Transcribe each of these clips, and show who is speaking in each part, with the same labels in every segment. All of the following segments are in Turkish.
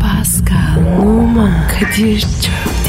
Speaker 1: Pascal, Oman, Kadir çok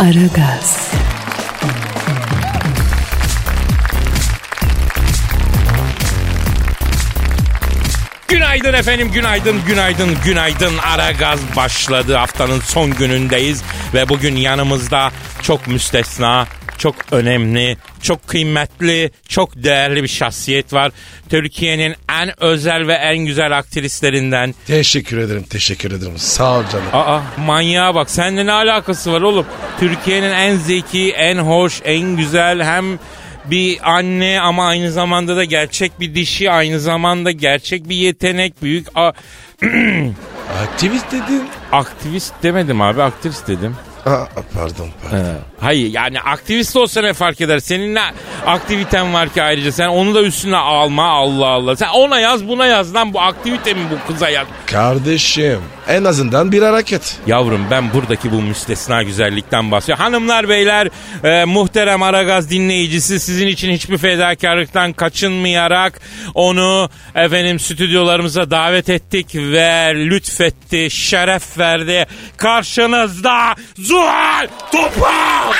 Speaker 1: Aragaz,
Speaker 2: Günaydın efendim, günaydın, günaydın, günaydın. Ara gaz başladı. Haftanın son günündeyiz ve bugün yanımızda çok müstesna, çok önemli, çok kıymetli, çok değerli bir şahsiyet var. Türkiye'nin en özel ve en güzel aktrislerinden.
Speaker 3: Teşekkür ederim, teşekkür ederim. Sağ ol canım.
Speaker 2: Aa, manyağa bak. Seninle ne alakası var oğlum? Türkiye'nin en zeki, en hoş, en güzel hem bir anne ama aynı zamanda da gerçek bir dişi, aynı zamanda gerçek bir yetenek, büyük a-
Speaker 3: Aktivist dedin.
Speaker 2: Aktivist demedim abi aktivist dedim.
Speaker 3: Aa, pardon, pardon.
Speaker 2: Hayır yani aktivist olsa ne fark eder? Senin ne aktiviten var ki ayrıca sen onu da üstüne alma Allah Allah. Sen ona yaz buna yaz lan bu aktivite mi bu kıza yaz?
Speaker 3: Kardeşim, en azından bir hareket.
Speaker 2: Yavrum ben buradaki bu müstesna güzellikten bahsediyorum. Hanımlar beyler e, muhterem Aragaz dinleyicisi sizin için hiçbir fedakarlıktan kaçınmayarak onu efendim stüdyolarımıza davet ettik ve lütfetti, şeref verdi. Karşınızda Zuhal Topal!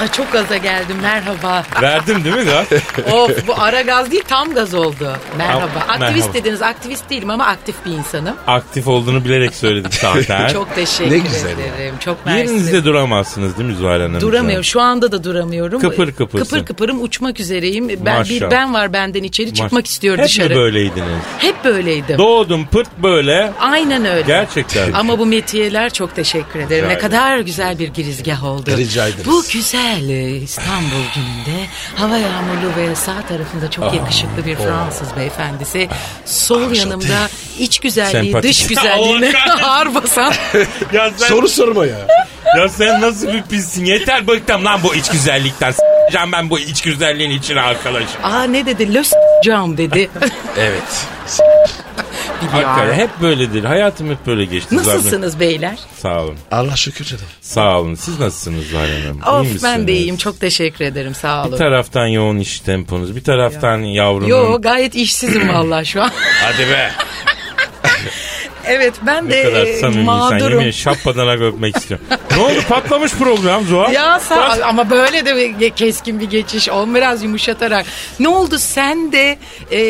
Speaker 4: Ay çok gaza geldim merhaba.
Speaker 2: Verdim değil mi gaz?
Speaker 4: of bu ara gaz değil tam gaz oldu. Merhaba.
Speaker 2: Tam-
Speaker 4: aktivist
Speaker 2: merhaba.
Speaker 4: dediniz aktivist değilim ama aktif bir insanım.
Speaker 2: Aktif olduğunu bilerek söyledim zaten.
Speaker 4: Çok teşekkür
Speaker 3: Ne güzel
Speaker 4: ederim. Çok mersi.
Speaker 2: Yerinizde duramazsınız değil mi Zuhal Hanım?
Speaker 4: Duramıyorum şu anda da duramıyorum. Ee,
Speaker 2: Kıpır kıpırsın.
Speaker 4: Kıpır kıpırım uçmak üzereyim. Ben, bir
Speaker 2: Maşallah.
Speaker 4: ben var benden içeri çıkmak istiyor
Speaker 2: Hep mi
Speaker 4: dışarı.
Speaker 2: böyleydiniz?
Speaker 4: Hep böyleydim.
Speaker 2: Doğdum pırt böyle.
Speaker 4: Aynen öyle.
Speaker 2: Gerçekten.
Speaker 4: Ama bu metiyeler çok teşekkür ederim.
Speaker 2: Rica
Speaker 4: ne kadar güzel bir girizgah oldu.
Speaker 3: Rica ederiz.
Speaker 4: Bu güzel e, İstanbul gününde hava yağmurlu ve sağ tarafında çok yakışıklı
Speaker 2: Oh.
Speaker 4: bir Fransız beyefendisi. Sol yanımda iç güzelliği,
Speaker 2: Sempatik.
Speaker 4: dış güzelliğine
Speaker 2: Allah
Speaker 4: ağır basan.
Speaker 2: ya sen,
Speaker 3: Soru sorma ya.
Speaker 2: ya sen nasıl bir pissin? Yeter bıktım lan bu iç güzellikten. S**eceğim ben bu iç güzelliğin içine arkadaş.
Speaker 4: Aa ne dedi? Lös cam dedi.
Speaker 3: evet.
Speaker 2: Hakikaten hep böyledir. Hayatım hep böyle geçti. Zaten-
Speaker 4: Nasılsınız beyler?
Speaker 2: Sağ olun.
Speaker 3: Allah şükür canım.
Speaker 2: Sağ olun. Siz nasılsınız Zuhal Hanım? İyi
Speaker 4: Of ben
Speaker 2: misiniz?
Speaker 4: de iyiyim. Çok teşekkür ederim. Sağ
Speaker 2: Bir
Speaker 4: olun.
Speaker 2: taraftan yoğun iş temponuz, bir taraftan yavrunun...
Speaker 4: Yo gayet işsizim vallahi şu an.
Speaker 2: Hadi be.
Speaker 4: evet ben de
Speaker 2: Ne kadar samimi
Speaker 4: e,
Speaker 2: insan. Yemin
Speaker 4: mağdurum.
Speaker 2: ederim şapkadan ak öpmek istiyorum. ne oldu patlamış program Zuhal?
Speaker 4: Ya
Speaker 2: Biraz-
Speaker 4: sağ ama böyle de bir ge- keskin bir geçiş on biraz yumuşatarak. Ne oldu sen de e,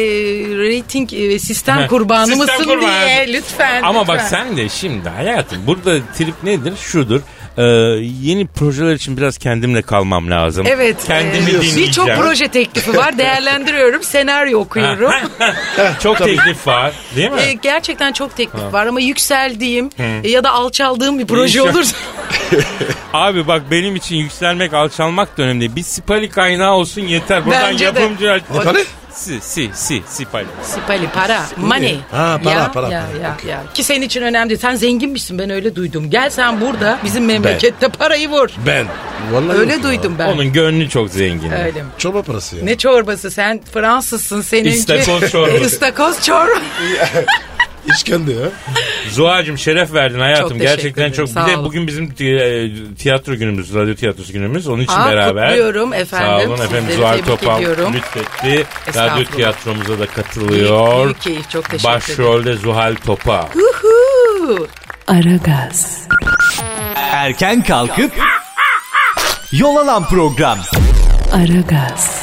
Speaker 4: rating e, sistem
Speaker 2: Heh,
Speaker 4: kurbanı
Speaker 2: sistem
Speaker 4: mısın
Speaker 2: kurbanı.
Speaker 4: diye lütfen.
Speaker 2: Ama
Speaker 4: lütfen.
Speaker 2: bak sen de şimdi hayatım burada trip nedir? Şudur. Ee, yeni projeler için biraz kendimle kalmam lazım.
Speaker 4: Evet.
Speaker 2: Kendimi
Speaker 4: e,
Speaker 2: dinleyeceğim.
Speaker 4: Birçok proje teklifi var. Değerlendiriyorum. Senaryo okuyorum.
Speaker 2: Eh, Çok teklif var değil mi?
Speaker 4: E, gerçekten çok teklif var ama yükseldiğim e, ya da alçaldığım bir proje
Speaker 2: İnşallah.
Speaker 4: olursa.
Speaker 2: Abi bak benim için yükselmek alçalmak da önemli. değil. Bir sipali kaynağı olsun yeter. Buradan
Speaker 4: Bence de.
Speaker 2: yapımcı...
Speaker 3: Sipali?
Speaker 2: Si, si, si, sipali.
Speaker 4: Sipali para, money.
Speaker 3: E, Ha, para,
Speaker 4: ya,
Speaker 3: para,
Speaker 4: ya,
Speaker 3: para.
Speaker 4: ya, ya. Ki senin için önemli değil. Sen zenginmişsin ben öyle duydum. Gel sen burada bizim memlekette parayı vur.
Speaker 3: Ben. Vallahi yok
Speaker 4: Öyle
Speaker 3: ya.
Speaker 4: duydum ben.
Speaker 2: Onun gönlü çok zengin.
Speaker 4: Öyle mi?
Speaker 3: Çorba parası ya.
Speaker 4: Ne çorbası sen Fransızsın seninki.
Speaker 2: İstakoz çorbası.
Speaker 4: İstakoz çorba.
Speaker 3: İşkende ya.
Speaker 2: Zuhacığım şeref verdin hayatım.
Speaker 4: Çok teşekkür
Speaker 2: Gerçekten
Speaker 4: ederim.
Speaker 2: çok.
Speaker 4: Sağ
Speaker 2: bir de
Speaker 4: olun.
Speaker 2: bugün bizim ti- e, tiyatro günümüz, radyo tiyatrosu günümüz. Onun için
Speaker 4: Aa,
Speaker 2: beraber.
Speaker 4: kutluyorum efendim.
Speaker 2: Sağ olun efendim.
Speaker 4: Sizleri
Speaker 2: Zuhal
Speaker 4: tebrik
Speaker 2: Topal
Speaker 4: ediyorum.
Speaker 2: lütfetti.
Speaker 4: Estağfurullah.
Speaker 2: Radyo tiyatromuza da katılıyor.
Speaker 4: Büyük, büyük keyif çok teşekkür ederim.
Speaker 2: Başrolde Zuhal Topal.
Speaker 4: Uhu.
Speaker 1: Aragaz,
Speaker 5: Erken kalkıp yol alan program.
Speaker 1: Aragaz,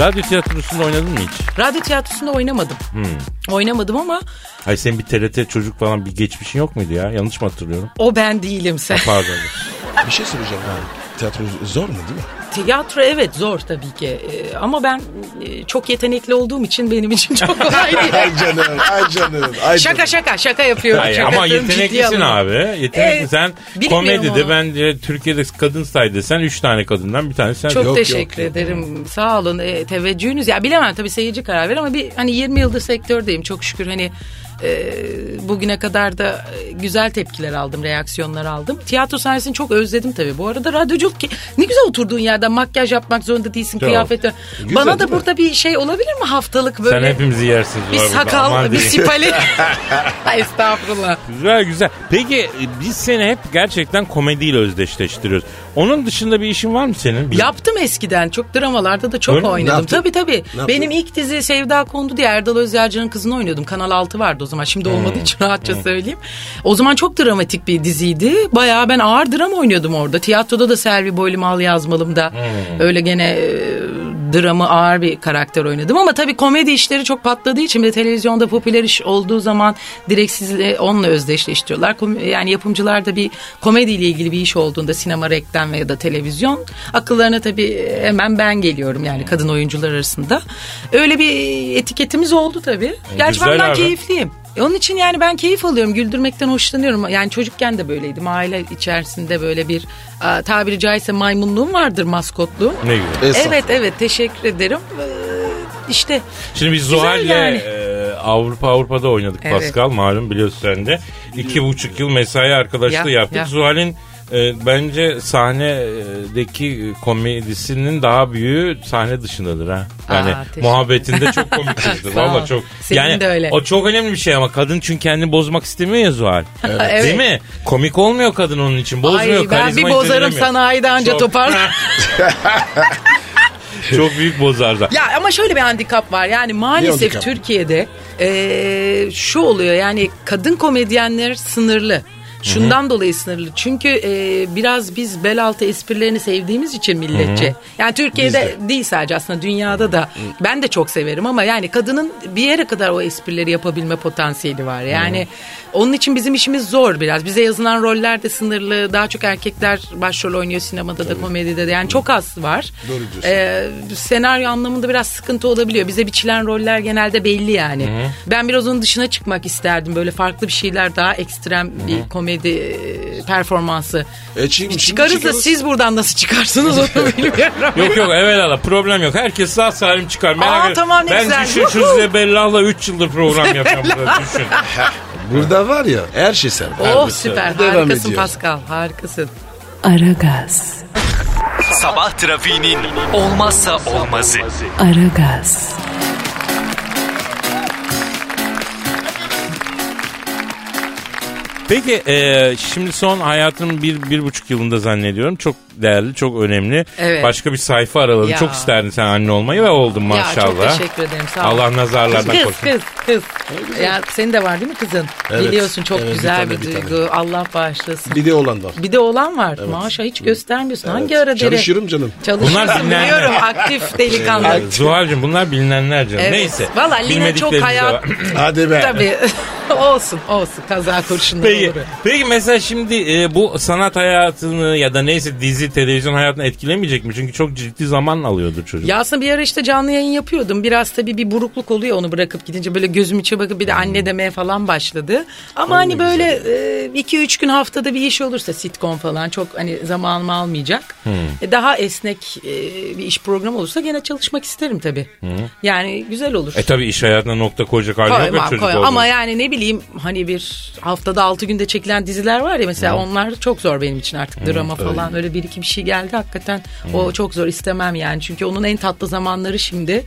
Speaker 2: Radyo tiyatrosunda oynadın mı hiç?
Speaker 4: Radyo tiyatrosunda oynamadım.
Speaker 2: Hmm.
Speaker 4: Oynamadım ama
Speaker 2: Ay senin bir TRT çocuk falan bir geçmişin yok muydu ya? Yanlış mı hatırlıyorum?
Speaker 4: o ben değilim sen.
Speaker 2: Pardon.
Speaker 3: Bir şey soracağım abi. Tiyatro zor mu değil mi?
Speaker 4: Tiyatro evet zor tabii ki Ee, ama ben e, çok yetenekli olduğum için benim için çok kolay değil.
Speaker 3: Ay canım, ay canım, ay
Speaker 4: şaka
Speaker 3: canım.
Speaker 4: şaka şaka yapıyorum.
Speaker 2: Ay,
Speaker 4: Şaka
Speaker 2: ama
Speaker 4: yapıyorum, ciddiye
Speaker 2: yeteneklisin
Speaker 4: alıyorum.
Speaker 2: abi. Yetenekli.
Speaker 4: Ee,
Speaker 2: sen
Speaker 4: bilmiyorum
Speaker 2: komedide
Speaker 4: ama.
Speaker 2: ben de Türkiye'de kadın say desen 3 tane kadından bir tanesi sen.
Speaker 4: Çok
Speaker 3: yok,
Speaker 4: teşekkür
Speaker 3: yok.
Speaker 4: ederim. Sağ olun. E, teveccühünüz. Ya bilemem tabii seyirci karar verir ama bir hani 20 yıldır sektördeyim çok şükür hani e, bugüne kadar da e, güzel tepkiler aldım, reaksiyonlar aldım. Tiyatro sahnesini çok özledim tabii. Bu arada radyoculuk ki ne güzel oturduğun yerden makyaj yapmak zorunda değilsin, kıyafet.
Speaker 3: Güzel,
Speaker 4: Bana da
Speaker 3: değil mi?
Speaker 4: burada bir şey olabilir mi haftalık böyle?
Speaker 2: Sen hepimizi yersiniz.
Speaker 4: bir
Speaker 2: bu arada, aman
Speaker 4: sakal, bir
Speaker 2: diyeyim.
Speaker 4: sipalet. Ay, Estağfurullah.
Speaker 2: Güzel güzel. Peki e, biz seni hep gerçekten komediyle özdeşleştiriyoruz. Onun dışında bir işin var mı senin? Bir-
Speaker 4: Yaptım eskiden çok dramalarda da çok
Speaker 2: Öyle mi?
Speaker 3: Ne
Speaker 4: oynadım.
Speaker 3: yaptın?
Speaker 4: Tabii tabii.
Speaker 3: yaptın?
Speaker 4: Benim ilk dizi Sevda Kondu diye Erdal Özyağcı'nın kızını oynuyordum. Kanal 6 vardı o zaman. Şimdi
Speaker 3: Hmm.
Speaker 4: olmadığı için rahatça söyleyeyim. O zaman çok dramatik bir diziydi. Bayağı ben ağır drama oynuyordum orada. Tiyatroda da Selvi Boylum Al Yazmalım'da.
Speaker 3: Hmm.
Speaker 4: Öyle gene e, dramı ağır bir karakter oynadım. Ama tabii komedi işleri çok patladığı için bir de televizyonda popüler iş olduğu zaman direkt sizi onunla özdeşleştiriyorlar. Kom- Yani yapımcılar da bir komediyle ilgili bir iş olduğunda sinema, reklam ya da televizyon akıllarına tabii hemen ben geliyorum yani kadın oyuncular arasında. Öyle bir etiketimiz oldu tabii. Gerçi
Speaker 2: E, güzel
Speaker 4: ben ben
Speaker 2: abi.
Speaker 4: keyifliyim. E, Onun için yani ben keyif alıyorum. Güldürmekten hoşlanıyorum. Yani çocukken de böyleydim. Aile içerisinde böyle bir a, tabiri caizse maymunluğum vardır maskotluğum.
Speaker 2: Ne güzel.
Speaker 3: Estağfurullah.
Speaker 4: Evet evet teşekkür ederim. Ee, İşte
Speaker 2: Şimdi biz
Speaker 4: Güzel
Speaker 2: Zuhal'le
Speaker 4: yani.
Speaker 2: e, Avrupa Avrupa'da oynadık
Speaker 4: Evet.
Speaker 2: Pascal malum biliyorsun sen de. İki buçuk yıl mesai arkadaşlığı
Speaker 4: Ya,
Speaker 2: yaptık.
Speaker 4: ya.
Speaker 2: Zuhal'in e, bence sahnedeki e, komedisinin daha büyüğü sahne dışındadır ha. Yani
Speaker 4: Aa, teşekkür
Speaker 2: muhabbetinde çok komik kızdı.
Speaker 4: Sağ ol.
Speaker 2: Valla çok.
Speaker 4: Senin
Speaker 2: yani
Speaker 4: de öyle.
Speaker 2: o çok önemli bir şey ama kadın çünkü kendini bozmak istemiyor ya Zuhal.
Speaker 4: Evet.
Speaker 2: Değil mi? Komik olmuyor kadın onun için. Bozmuyor.
Speaker 4: ay ben bir
Speaker 2: karizmayı
Speaker 4: bozarım
Speaker 2: zedelemiyor.
Speaker 4: sanayide anca
Speaker 2: Çok-
Speaker 4: topar.
Speaker 2: Çok büyük bozarlar.
Speaker 4: ya ama şöyle bir handikap var yani maalesef
Speaker 3: handikap?
Speaker 4: Türkiye'de e, şu oluyor yani kadın komedyenler sınırlı. Şundan dolayı sınırlı. Çünkü e, biraz biz bel altı esprilerini sevdiğimiz için milletçe. Yani Türkiye'de değil sadece aslında dünyada da. Ben de çok severim ama yani kadının bir yere kadar o esprileri yapabilme potansiyeli var. Yani onun için bizim işimiz zor biraz. Bize yazılan roller de sınırlı. Daha çok erkekler başrol oynuyor sinemada da komedide de. Yani çok az var.
Speaker 3: Doğru diyorsun.
Speaker 4: Ee, senaryo anlamında biraz sıkıntı olabiliyor. Bize biçilen roller genelde belli yani. Ben biraz onun dışına çıkmak isterdim. Böyle farklı bir şeyler daha ekstrem bir komedi e, performansı.
Speaker 3: E, şimdi-
Speaker 4: Çıkarız
Speaker 3: şimdi
Speaker 4: da siz buradan nasıl çıkarsınız onu bilmiyorum.
Speaker 2: Yok yok evvelallah problem yok. Herkes sağ salim çıkar. Merak
Speaker 4: Hani- Aa,
Speaker 2: etme.
Speaker 4: tamam, ne
Speaker 2: ben
Speaker 4: güzel.
Speaker 2: düşün
Speaker 4: Yuhu.
Speaker 2: Şükrü'yle Bellah'la 3 yıldır program yapıyorum. burada, düşün.
Speaker 3: Burada var ya her şey serbest.
Speaker 4: Oh süper
Speaker 3: Devam
Speaker 4: harikasın
Speaker 3: ediyor.
Speaker 4: Pascal harikasın.
Speaker 1: Aragaz,
Speaker 5: Sabah trafiğinin olmazsa olmazı.
Speaker 1: Aragaz,
Speaker 2: Peki e, şimdi son hayatımın bir, bir buçuk yılında zannediyorum. Çok değerli, çok önemli.
Speaker 4: Evet.
Speaker 2: Başka bir sayfa araladın.
Speaker 4: Ya.
Speaker 2: Çok isterdin sen anne olmayı ve oldun maşallah.
Speaker 4: Ya çok teşekkür ederim sağ ol.
Speaker 2: Allah nazarlardan
Speaker 4: Kız
Speaker 2: korusun.
Speaker 4: kız kız. Ya senin de var değil mi kızın?
Speaker 3: Evet.
Speaker 4: Biliyorsun çok
Speaker 3: Evet, bir
Speaker 4: güzel
Speaker 3: tane,
Speaker 4: bir,
Speaker 3: bir tane.
Speaker 4: duygu. Allah bağışlasın.
Speaker 3: Bir de olan var.
Speaker 4: Bir de olan var. Maşa hiç göstermiyorsun. Hangi ara dere?
Speaker 3: Çalışıyorum canım.
Speaker 2: Bunlar
Speaker 4: Çalışıyorsun
Speaker 2: dinlenme.
Speaker 4: biliyorum. Aktif delikanlı.
Speaker 2: Ee, Zuhal'cim bunlar bilinenler canım.
Speaker 4: Evet.
Speaker 2: Neyse.
Speaker 4: Valla Line çok
Speaker 2: Bilmediklerimiz de
Speaker 4: hayat-
Speaker 2: var.
Speaker 3: Hadi be.
Speaker 4: Tabii. olsun olsun. Kaza kurşunları
Speaker 2: Peki,
Speaker 4: olur.
Speaker 2: peki mesela şimdi e, bu sanat hayatını ya da neyse dizi, televizyon hayatını etkilemeyecek mi? Çünkü çok ciddi zaman alıyordur çocuk.
Speaker 4: Ya aslında bir ara işte canlı yayın yapıyordum. Biraz tabii bir burukluk oluyor onu bırakıp gidince. Böyle gözüm içe bakıp bir de anne demeye falan başladı. Ama hani böyle e, iki üç gün haftada bir iş olursa sitcom falan çok hani zamanımı almayacak. E, daha esnek e, bir iş programı olursa gene çalışmak isterim tabii. Yani güzel olur.
Speaker 2: E tabi iş hayatına nokta koyacak hali yok ya
Speaker 4: Koymam,
Speaker 2: Hani çocuk
Speaker 4: koymam.
Speaker 2: olduğu
Speaker 4: Ama
Speaker 2: için.
Speaker 4: yani ne bileyim hani bir haftada altı günde çekilen diziler var ya mesela onlar çok zor benim için artık drama falan öyle bir iki bir şey geldi hakikaten o çok zor istemem yani çünkü onun en tatlı zamanları şimdi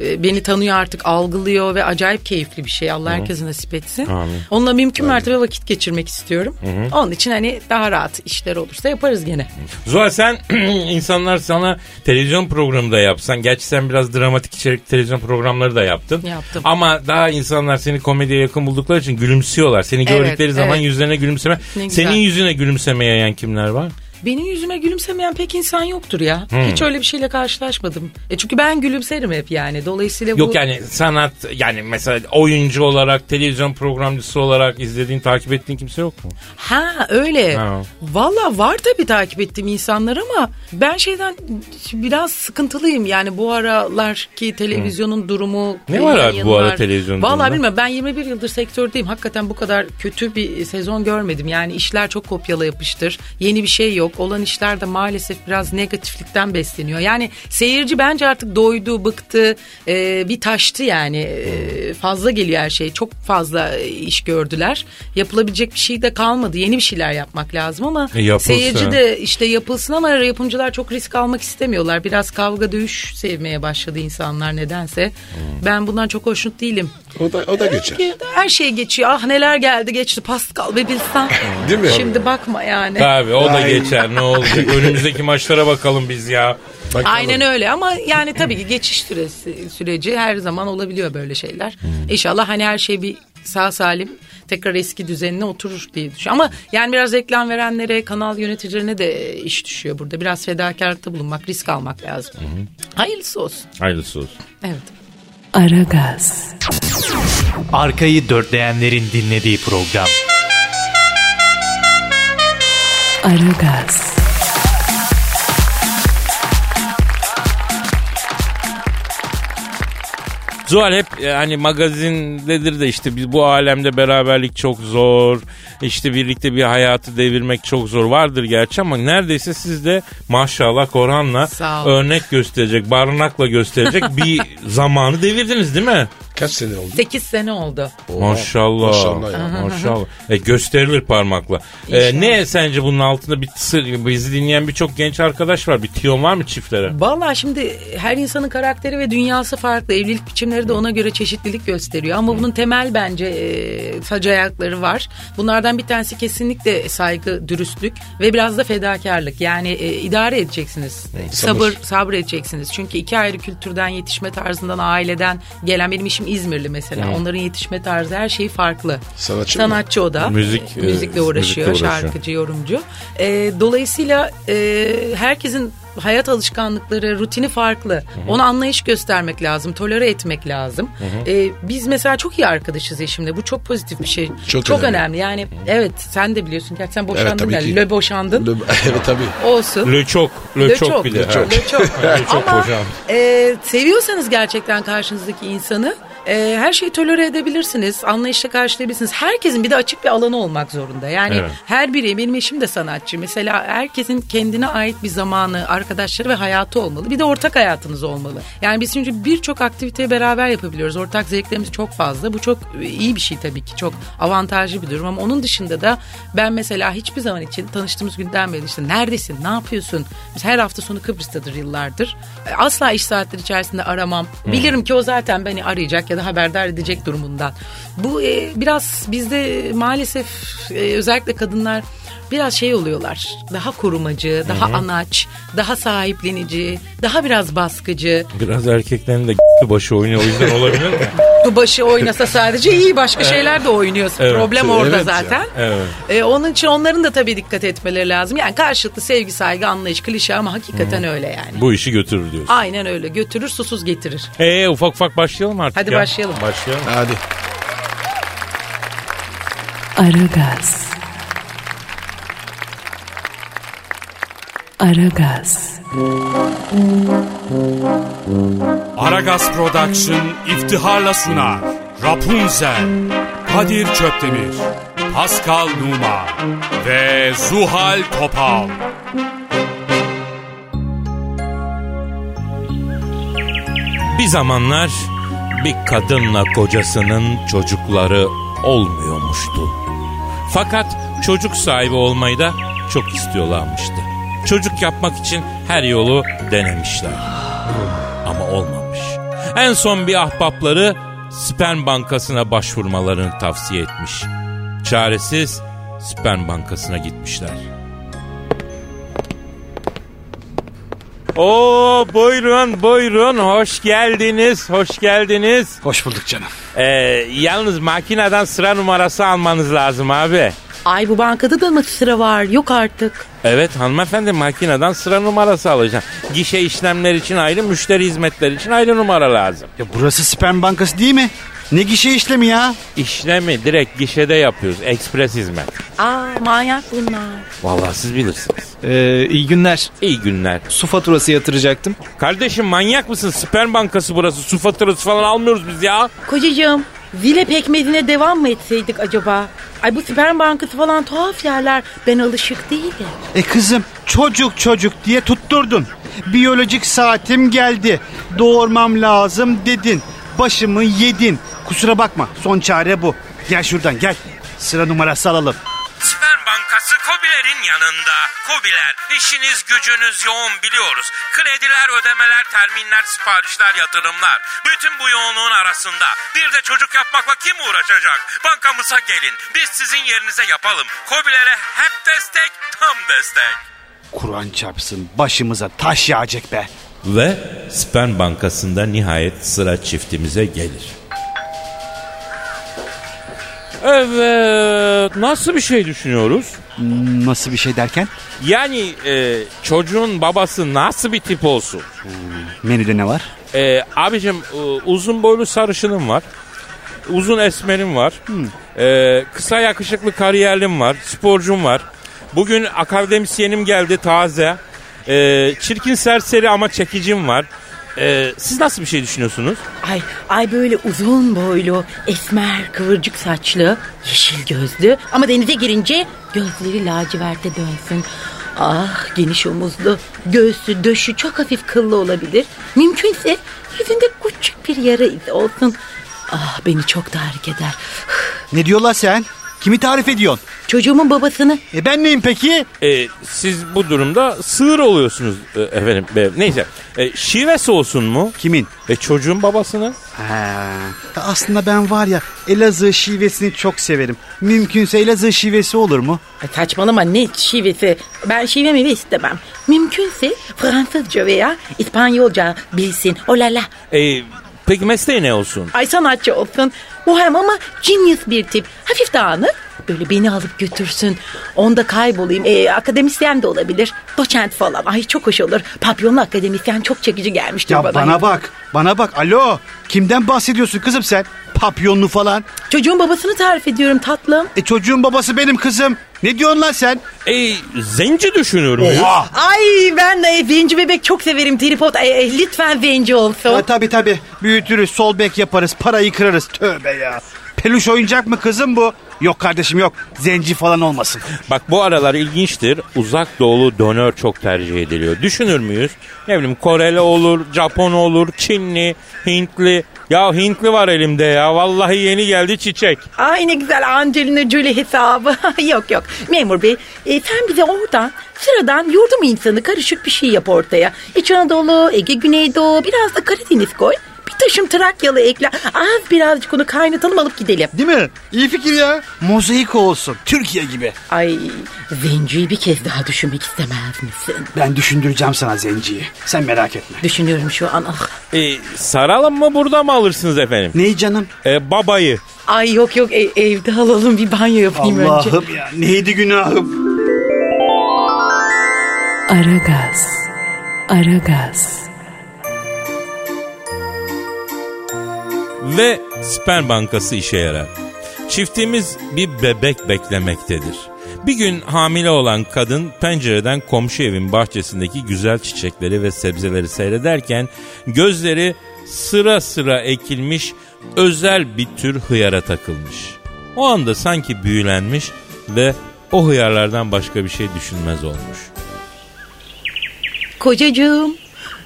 Speaker 4: Ee, beni tanıyor artık algılıyor ve acayip keyifli bir şey Allah herkese nasip etsin. Onunla mümkün mertebe vakit geçirmek istiyorum. Onun için hani daha rahat işler olursa yaparız gene.
Speaker 2: Zuhal sen insanlar sana televizyon programı da yapsan. Gerçi sen biraz dramatik içerikli televizyon programları da yaptın.
Speaker 4: Yaptım.
Speaker 2: Ama daha insanlar seni komediye yakın buldukları için gülümsüyorlar. Seni
Speaker 4: Evet,
Speaker 2: gördükleri zaman
Speaker 4: evet.
Speaker 2: yüzlerine gülümseme.
Speaker 4: Ne güzel.
Speaker 2: Senin yüzüne gülümsemeyen kimler var?
Speaker 4: Benim yüzüme gülümsemeyen pek insan yoktur ya. Hiç öyle bir şeyle karşılaşmadım. E çünkü ben gülümserim hep yani. Dolayısıyla bu...
Speaker 2: Yok yani sanat yani mesela oyuncu olarak televizyon programcısı olarak izlediğin takip ettiğin kimse yok mu?
Speaker 4: Ha öyle.
Speaker 2: Ha.
Speaker 4: Valla var tabii takip ettiğim insanlar ama ben şeyden biraz sıkıntılıyım. Yani bu aralar ki televizyonun durumu...
Speaker 2: Ne var abi bu
Speaker 4: yayınlar-
Speaker 2: ara televizyonun
Speaker 4: Valla
Speaker 2: durumunda?
Speaker 4: bilmiyorum ben 21 yıldır sektördeyim. Hakikaten bu kadar kötü bir sezon görmedim. Yani işler çok kopyala yapıştır. Yeni bir şey yok. Olan işler de maalesef biraz negatiflikten besleniyor. Yani seyirci bence artık doydu, bıktı. Ee, bir taştı yani. Ee, fazla geliyor her şey. Çok fazla iş gördüler. Yapılabilecek bir şey de kalmadı. Yeni bir şeyler yapmak lazım ama
Speaker 2: E, yapılsın.
Speaker 4: seyirci de işte yapılsın ama yapımcılar çok risk almak istemiyorlar. Biraz kavga dövüş sevmeye başladı insanlar nedense.
Speaker 2: Hmm.
Speaker 4: Ben bundan çok hoşnut değilim.
Speaker 3: O da, o da geçer.
Speaker 4: Ki Her şey geçiyor. Ah neler geldi geçti. Pascal ve bilsen.
Speaker 3: Değil mi?
Speaker 4: Şimdi bakma yani.
Speaker 2: Tabii o da
Speaker 3: Ay.
Speaker 2: geçer ne olacak önümüzdeki maçlara bakalım biz ya.
Speaker 3: Bak,
Speaker 4: Aynen öyle ama yani tabii ki geçiş süresi, süreci her zaman olabiliyor böyle şeyler.
Speaker 3: Hmm.
Speaker 4: İnşallah hani her şey bir sağ salim tekrar eski düzenine oturur diye düşünüyorum. Ama yani biraz reklam verenlere, kanal yöneticilerine de iş düşüyor burada. Biraz fedakarlıkta bulunmak, risk almak lazım. Hayırlısı olsun.
Speaker 2: Hayırlısı olsun.
Speaker 4: Evet.
Speaker 1: Aragaz,
Speaker 5: Arkayı dörtleyenlerin dinlediği program.
Speaker 1: Aragaz,
Speaker 2: Zuhal hep e, hani magazindedir de işte biz bu alemde beraberlik çok zor. İşte birlikte bir hayatı devirmek çok zor vardır gerçi ama neredeyse siz de maşallah Korhan'la
Speaker 4: Sağ ol.
Speaker 2: örnek gösterecek, barınakla gösterecek bir zamanı devirdiniz değil mi?
Speaker 3: Kaç sene oldu?
Speaker 4: 8 sene oldu.
Speaker 2: Maşallah.
Speaker 3: Maşallah ya.
Speaker 2: Maşallah. E, gösterilir parmakla. E, ne sence bunun altında bir sır, bizi dinleyen birçok genç arkadaş var. Bir tiyon var mı çiftlere?
Speaker 4: Vallahi şimdi her insanın karakteri ve dünyası farklı. Evlilik biçimleri de ona göre çeşitlilik gösteriyor. Ama bunun temel bence e, sac ayakları var. Bunlardan bir tanesi kesinlikle saygı, dürüstlük ve biraz da fedakarlık. Yani e, idare edeceksiniz. Sabır, sabır edeceksiniz. Çünkü iki ayrı kültürden, yetişme tarzından, aileden gelen benim işim İzmirli mesela. Onların yetişme tarzı her şeyi farklı.
Speaker 3: Sanatçı mı?
Speaker 4: Sanatçı o da.
Speaker 2: Müzik,
Speaker 3: Ee,
Speaker 4: E,
Speaker 2: e,
Speaker 4: müzikle
Speaker 2: müzikle
Speaker 4: uğraşıyor,
Speaker 2: uğraşıyor.
Speaker 4: şarkıcı, yorumcu. E, dolayısıyla e, herkesin hayat alışkanlıkları, rutini farklı. Ona anlayış göstermek lazım, tolere etmek lazım. E, biz mesela çok iyi arkadaşız eşimle. Bu çok pozitif bir şey.
Speaker 3: Çok
Speaker 4: önemli.
Speaker 3: önemli.
Speaker 4: Yani evet sen de biliyorsun. Gerçi sen
Speaker 3: Evet,
Speaker 4: boşandın
Speaker 3: tabii
Speaker 4: galiba.
Speaker 3: ki.
Speaker 4: Le boşandın.
Speaker 3: evet tabii.
Speaker 4: Olsun.
Speaker 2: Le çok. Le,
Speaker 4: Le
Speaker 2: çok,
Speaker 4: çok,
Speaker 2: bir de.
Speaker 4: le
Speaker 2: ha.
Speaker 4: çok, le çok.
Speaker 2: Le çok
Speaker 4: Ama
Speaker 2: hocam.
Speaker 4: e, seviyorsanız gerçekten karşınızdaki insanı e, her şeyi tolere edebilirsiniz. Anlayışla karşılayabilirsiniz. Herkesin bir de açık bir alanı olmak zorunda. Yani
Speaker 2: Evet.
Speaker 4: her birey benim eşim de sanatçı. Mesela herkesin kendine ait bir zamanı, arkadaşları ve hayatı olmalı. Bir de ortak hayatınız olmalı. Yani biz çünkü birçok aktiviteyi beraber yapabiliyoruz. Ortak zevklerimiz çok fazla. Bu çok e, iyi bir şey tabii ki. Çok avantajlı bir durum ama onun dışında da ben mesela hiçbir zaman için tanıştığımız günden beri işte neredesin, ne yapıyorsun? Biz her hafta sonu Kıbrıs'tadır yıllardır. E, Asla iş saatleri içerisinde aramam. Bilirim ki o zaten beni arayacak ya da haberdar edecek durumundan. Bu e, biraz bizde maalesef e, özellikle kadınlar biraz şey oluyorlar. Daha korumacı, daha anaç, daha sahiplenici, daha biraz baskıcı.
Speaker 2: Biraz erkeklerin de başı oynuyor o yüzden olabilir mi?
Speaker 4: Bu başı oynasa sadece iyi başka şeyler de oynuyor.
Speaker 2: Evet.
Speaker 4: Problem orada
Speaker 3: Evet ya.
Speaker 4: zaten.
Speaker 2: Evet.
Speaker 4: E, onun için onların da tabii dikkat etmeleri lazım. Yani karşılıklı sevgi, saygı, anlayış klişe ama hakikaten öyle yani.
Speaker 2: Bu işi götürür diyorsun.
Speaker 4: Aynen öyle. Götürür, susuz getirir.
Speaker 2: Ee ufak ufak başlayalım artık
Speaker 4: Hadi
Speaker 2: ya.
Speaker 4: başlayalım.
Speaker 2: Başlayalım.
Speaker 3: Hadi.
Speaker 1: Aragaz. Aragaz,
Speaker 6: Aragaz Production iftiharla sunar. Rapunzel, Kadir Çöptemir, Pascal Numa ve Zuhal Topal.
Speaker 2: Bir zamanlar bir kadınla kocasının çocukları olmuyormuştu. Fakat çocuk sahibi olmayı da çok istiyorlarmıştı. Çocuk yapmak için her yolu denemişler. Ama olmamış. En son bir ahbapları sperm bankasına başvurmalarını tavsiye etmiş. Çaresiz sperm bankasına gitmişler. Oo buyurun buyurun hoş geldiniz hoş geldiniz.
Speaker 7: Hoş bulduk canım.
Speaker 2: Ee, yalnız makineden sıra numarası almanız lazım abi.
Speaker 4: Ay bu bankada da mı sıra var? Yok artık.
Speaker 2: Evet hanımefendi makineden sıra numarası alacağım. Gişe işlemler için ayrı, müşteri hizmetleri için ayrı numara lazım.
Speaker 8: Ya burası sperm bankası değil mi? Ne gişe işlemi ya?
Speaker 2: İşlemi direkt gişede yapıyoruz. Ekspres hizmet.
Speaker 4: Aa manyak bunlar.
Speaker 2: Vallahi siz bilirsiniz.
Speaker 5: Ee, iyi günler.
Speaker 2: İyi günler.
Speaker 5: Su faturası yatıracaktım.
Speaker 2: Kardeşim manyak mısın? Sperm bankası burası. Su faturası falan almıyoruz biz ya.
Speaker 4: Kocacığım vile pekmezine devam mı etseydik acaba? Ay bu sperm bankası falan tuhaf yerler. Ben alışık değilim.
Speaker 8: E kızım çocuk çocuk diye tutturdun. Biyolojik saatim geldi. Doğurmam lazım dedin. Başımı yedin. Kusura bakma son çare bu. Gel şuradan gel. Sıra numarası alalım.
Speaker 2: Sperm bankası Kobiler'in yanında. Kobiler işiniz gücünüz yoğun biliyoruz. Krediler, ödemeler, terminler, siparişler, yatırımlar. Bütün bu yoğunluğun arasında bir de çocuk yapmakla kim uğraşacak? Bankamıza gelin. Biz sizin yerinize yapalım. Kobiler'e hep destek, tam destek.
Speaker 8: Kur'an çarpsın başımıza taş yağacak be.
Speaker 2: Ve Sperm Bankası'nda nihayet sıra çiftimize gelir. Evet, nasıl bir şey düşünüyoruz?
Speaker 8: Nasıl bir şey derken?
Speaker 2: Yani e, çocuğun babası nasıl bir tip olsun?
Speaker 8: Menüde ne var?
Speaker 2: E, abicim e, uzun boylu sarışınım var. Uzun esmerim var. E, kısa yakışıklı kariyerlim var. Sporcum var. Bugün akademisyenim geldi taze. E, çirkin serseri ama çekicim var. E, siz nasıl bir şey düşünüyorsunuz?
Speaker 4: Ay, ay böyle uzun boylu, esmer, kıvırcık saçlı, yeşil gözlü ama denize girince gözleri laciverte dönsün. Ah geniş omuzlu, göğsü, döşü çok hafif kıllı olabilir. Mümkünse yüzünde küçük bir yara izi olsun. Ah beni çok tahrik eder.
Speaker 8: Ne diyorlar sen? Kimi tarif ediyorsun?
Speaker 4: Çocuğumun babasını
Speaker 8: E ben neyim peki?
Speaker 2: E, siz bu durumda sığır oluyorsunuz e, efendim. E, neyse. E, şivesi olsun mu?
Speaker 8: Kimin?
Speaker 2: E, çocuğun babasının?
Speaker 8: Ha. Aslında ben var ya Elazığ şivesini çok severim. Mümkünse Elazığ şivesi olur mu?
Speaker 4: Ay saçmalama ne şivesi. Ben şive meyve istemem. Mümkünse Fransızca veya İspanyolca bilsin. Oh Olala.
Speaker 2: E, peki mesleği ne olsun?
Speaker 4: Ay sanatçı olsun. Muhem ama genius bir tip. Hafif dağınık. Böyle beni alıp götürsün. Onda kaybolayım. Ee, akademisyen de olabilir. Doçent falan. Ay çok hoş olur. Papyonlu akademisyen çok çekici gelmiştir
Speaker 8: Ya bana bak, bana bak. Alo, kimden bahsediyorsun kızım sen? Papyonlu falan.
Speaker 4: Çocuğun babasını tarif ediyorum tatlım.
Speaker 8: E çocuğun babası benim kızım. Ne diyorsun lan sen?
Speaker 2: E, zenci düşünüyorum. ya.
Speaker 8: Ah.
Speaker 4: Ay ben de e, zenci bebek çok severim. Tripod. Ay, ay, lütfen zenci olsun.
Speaker 8: Ha, E, tabii tabii. Büyütürüz, sol bek yaparız, parayı kırarız. Tövbe ya. Peluş oyuncak mı kızım bu? Yok kardeşim yok. Zenci falan olmasın.
Speaker 2: Bak bu aralar ilginçtir. Uzak doğulu döner çok tercih ediliyor. Düşünür müyüz? Ne bileyim Koreli olur, Japon olur, Çinli, Hintli. Ya Hintli var elimde ya. Vallahi yeni geldi çiçek.
Speaker 4: Ay ne güzel Angelina Jolie hesabı. yok yok. Memur bey e, sen bize oradan sıradan yurdum insanı karışık bir şey yap ortaya. İç Anadolu, Ege Güneydoğu biraz da Karadeniz koy. Bir taşım Trakyalı ekle. Az birazcık onu kaynatalım alıp gidelim.
Speaker 8: Değil mi? İyi fikir ya. Mozaik olsun. Türkiye gibi.
Speaker 4: Ay zenciyi bir kez daha düşünmek istemez misin?
Speaker 8: Ben düşündüreceğim sana zenciyi. Sen merak etme.
Speaker 4: Düşünüyorum şu an. Ah.
Speaker 2: E, saralım mı burada mı alırsınız efendim?
Speaker 8: Neyi canım?
Speaker 2: E, babayı.
Speaker 4: Ay yok yok e- evde alalım bir banyo yapayım E, önce.
Speaker 8: Allah'ım ya. Neydi günahım?
Speaker 1: Aragaz. Aragaz.
Speaker 2: ve sperm bankası işe yarar. Çiftimiz bir bebek beklemektedir. Bir gün hamile olan kadın pencereden komşu evin bahçesindeki güzel çiçekleri ve sebzeleri seyrederken gözleri sıra sıra ekilmiş özel bir tür hıyara takılmış. O anda sanki büyülenmiş ve o hıyarlardan başka bir şey düşünmez olmuş.
Speaker 4: Kocacığım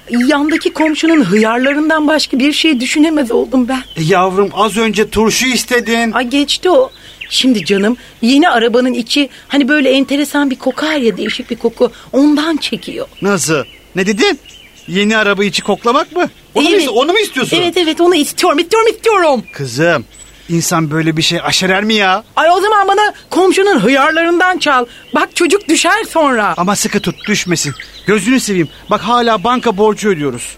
Speaker 4: yandaki komşunun hıyarlarından başka bir şey düşünemez oldum ben.
Speaker 8: E, Yavrum az önce turşu istedin.
Speaker 4: Ay geçti o. Şimdi canım yeni arabanın içi hani böyle enteresan bir koku var ya değişik bir koku ondan çekiyor.
Speaker 8: Nasıl? Ne dedin? Yeni araba içi koklamak mı? Onu, mu,
Speaker 4: Değil
Speaker 8: iste- onu mu istiyorsun?
Speaker 4: Evet evet onu istiyorum istiyorum istiyorum.
Speaker 8: Kızım insan böyle bir şey aşerer mi ya?
Speaker 4: Ay o zaman bana komşunun hıyarlarından çal. Bak çocuk düşer sonra.
Speaker 8: Ama sıkı tut düşmesin. Gözünü seveyim. Bak hala banka borcu ödüyoruz.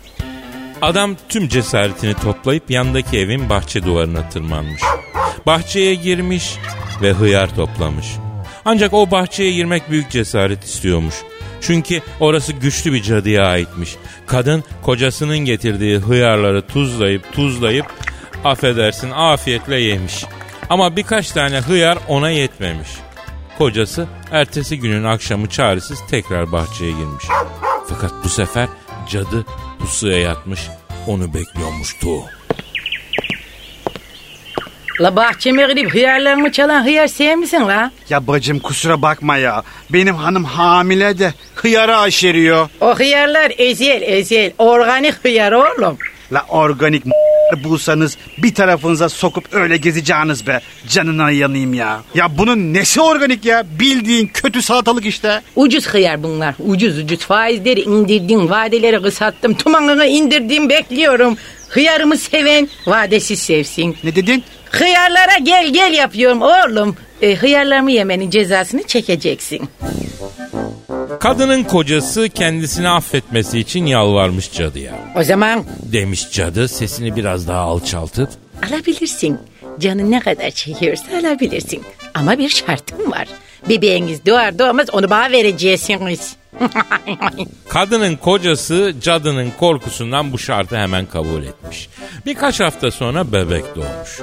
Speaker 2: Adam tüm cesaretini toplayıp yandaki evin bahçe duvarına tırmanmış. Bahçeye girmiş ve hıyar toplamış. Ancak o bahçeye girmek büyük cesaret istiyormuş. Çünkü orası güçlü bir cadıya aitmiş. Kadın kocasının getirdiği hıyarları tuzlayıp tuzlayıp affedersin afiyetle yemiş. Ama birkaç tane hıyar ona yetmemiş. Kocası ertesi günün akşamı çaresiz tekrar bahçeye girmiş. Fakat bu sefer cadı pusuya yatmış onu bekliyormuştu.
Speaker 4: La bahçeme girip hıyarlarımı çalan hıyar sen misin la?
Speaker 8: Ya bacım kusura bakma ya. Benim hanım hamile de hıyara aşeriyor.
Speaker 4: O hıyarlar ezel ezel organik hıyar oğlum.
Speaker 8: La organik bulsanız bir tarafınıza sokup öyle gezeceğiniz be. Canına yanayım ya. Ya bunun nesi organik ya? Bildiğin kötü salatalık işte.
Speaker 4: Ucuz hıyar bunlar. Ucuz ucuz. Faizleri indirdim, vadeleri kısalttım. Tumanını indirdim bekliyorum. Hıyarımı seven vadesiz sevsin.
Speaker 8: Ne dedin?
Speaker 4: Hıyarlara gel gel yapıyorum oğlum. E, hıyarlarımı yemenin cezasını çekeceksin.
Speaker 2: Kadının kocası kendisini affetmesi için yalvarmış cadıya.
Speaker 4: O zaman
Speaker 2: Demiş cadı sesini biraz daha alçaltıp.
Speaker 4: alabilirsin. Canın ne kadar çekiyorsa alabilirsin. Ama bir şartım var. Bebeğiniz doğar doğmaz onu bana vereceksiniz.
Speaker 2: Kadının kocası cadının korkusundan bu şartı hemen kabul etmiş. Birkaç hafta sonra bebek doğmuş.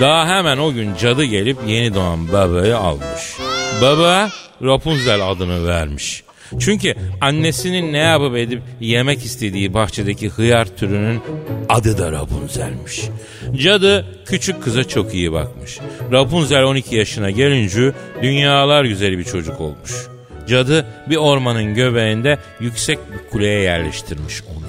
Speaker 2: Daha hemen o gün cadı gelip yeni doğan bebeği almış. Baba Rapunzel adını vermiş. Çünkü annesinin ne yapıp edip yemek istediği bahçedeki hıyar türünün adı da Rapunzel'miş. Cadı küçük kıza çok iyi bakmış. Rapunzel 12 yaşına gelince dünyalar güzeli bir çocuk olmuş. Cadı bir ormanın göbeğinde yüksek bir kuleye yerleştirmiş onu.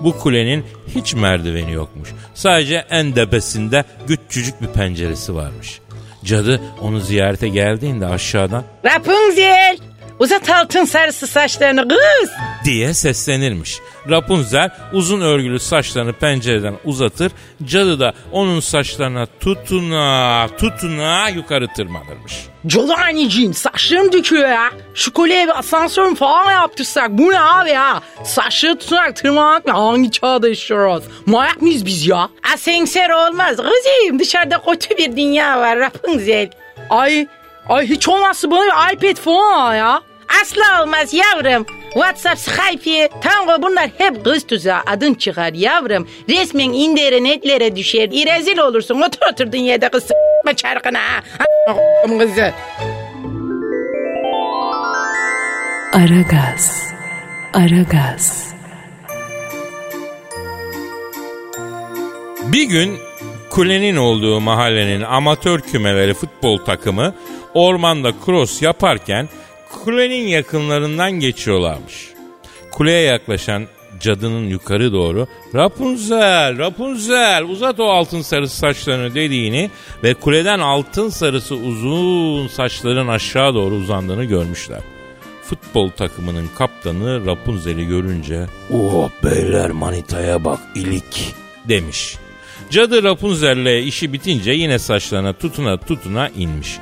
Speaker 2: Bu kulenin hiç merdiveni yokmuş. Sadece en tepesinde küçücük bir penceresi varmış. Cadı onu ziyarete geldiğinde aşağıdan
Speaker 4: Rapunzel uzat altın sarısı saçlarını kız.
Speaker 2: diye seslenirmiş. Rapunzel uzun örgülü saçlarını pencereden uzatır. Cadı da onun saçlarına tutuna tutuna yukarı tırmanırmış.
Speaker 4: Cadı anneciğim saçlarım döküyor ya. Şu kolye bir asansör mü falan yaptırsak bu ne abi ya? Saçları tutarak tırmanmak mı? Hangi çağda yaşıyoruz? Manyak mıyız biz ya? Asenser olmaz kızım dışarıda kötü bir dünya var Rapunzel. Ay ay hiç olmazsa bana bir iPad falan al ya. Asla olmaz yavrum. WhatsApp, Skype, Tango bunlar hep kız tuzağı. Adın çıkar yavrum. Resmen internetlere düşer. İrezil olursun. Otur otur dünyada kız s**ma çarkına. ha. A**ım kızı.
Speaker 1: Aragaz. Aragaz.
Speaker 2: Bir gün kulenin olduğu mahallenin amatör kümeleri futbol takımı ormanda cross yaparken kulenin yakınlarından geçiyorlarmış. Kuleye yaklaşan cadının yukarı doğru Rapunzel, Rapunzel uzat o altın sarısı saçlarını dediğini ve kuleden altın sarısı uzun saçların aşağı doğru uzandığını görmüşler. Futbol takımının kaptanı Rapunzel'i görünce Oh beyler manitaya bak ilik demiş. Cadı Rapunzel'le işi bitince yine saçlarına tutuna tutuna inmiş.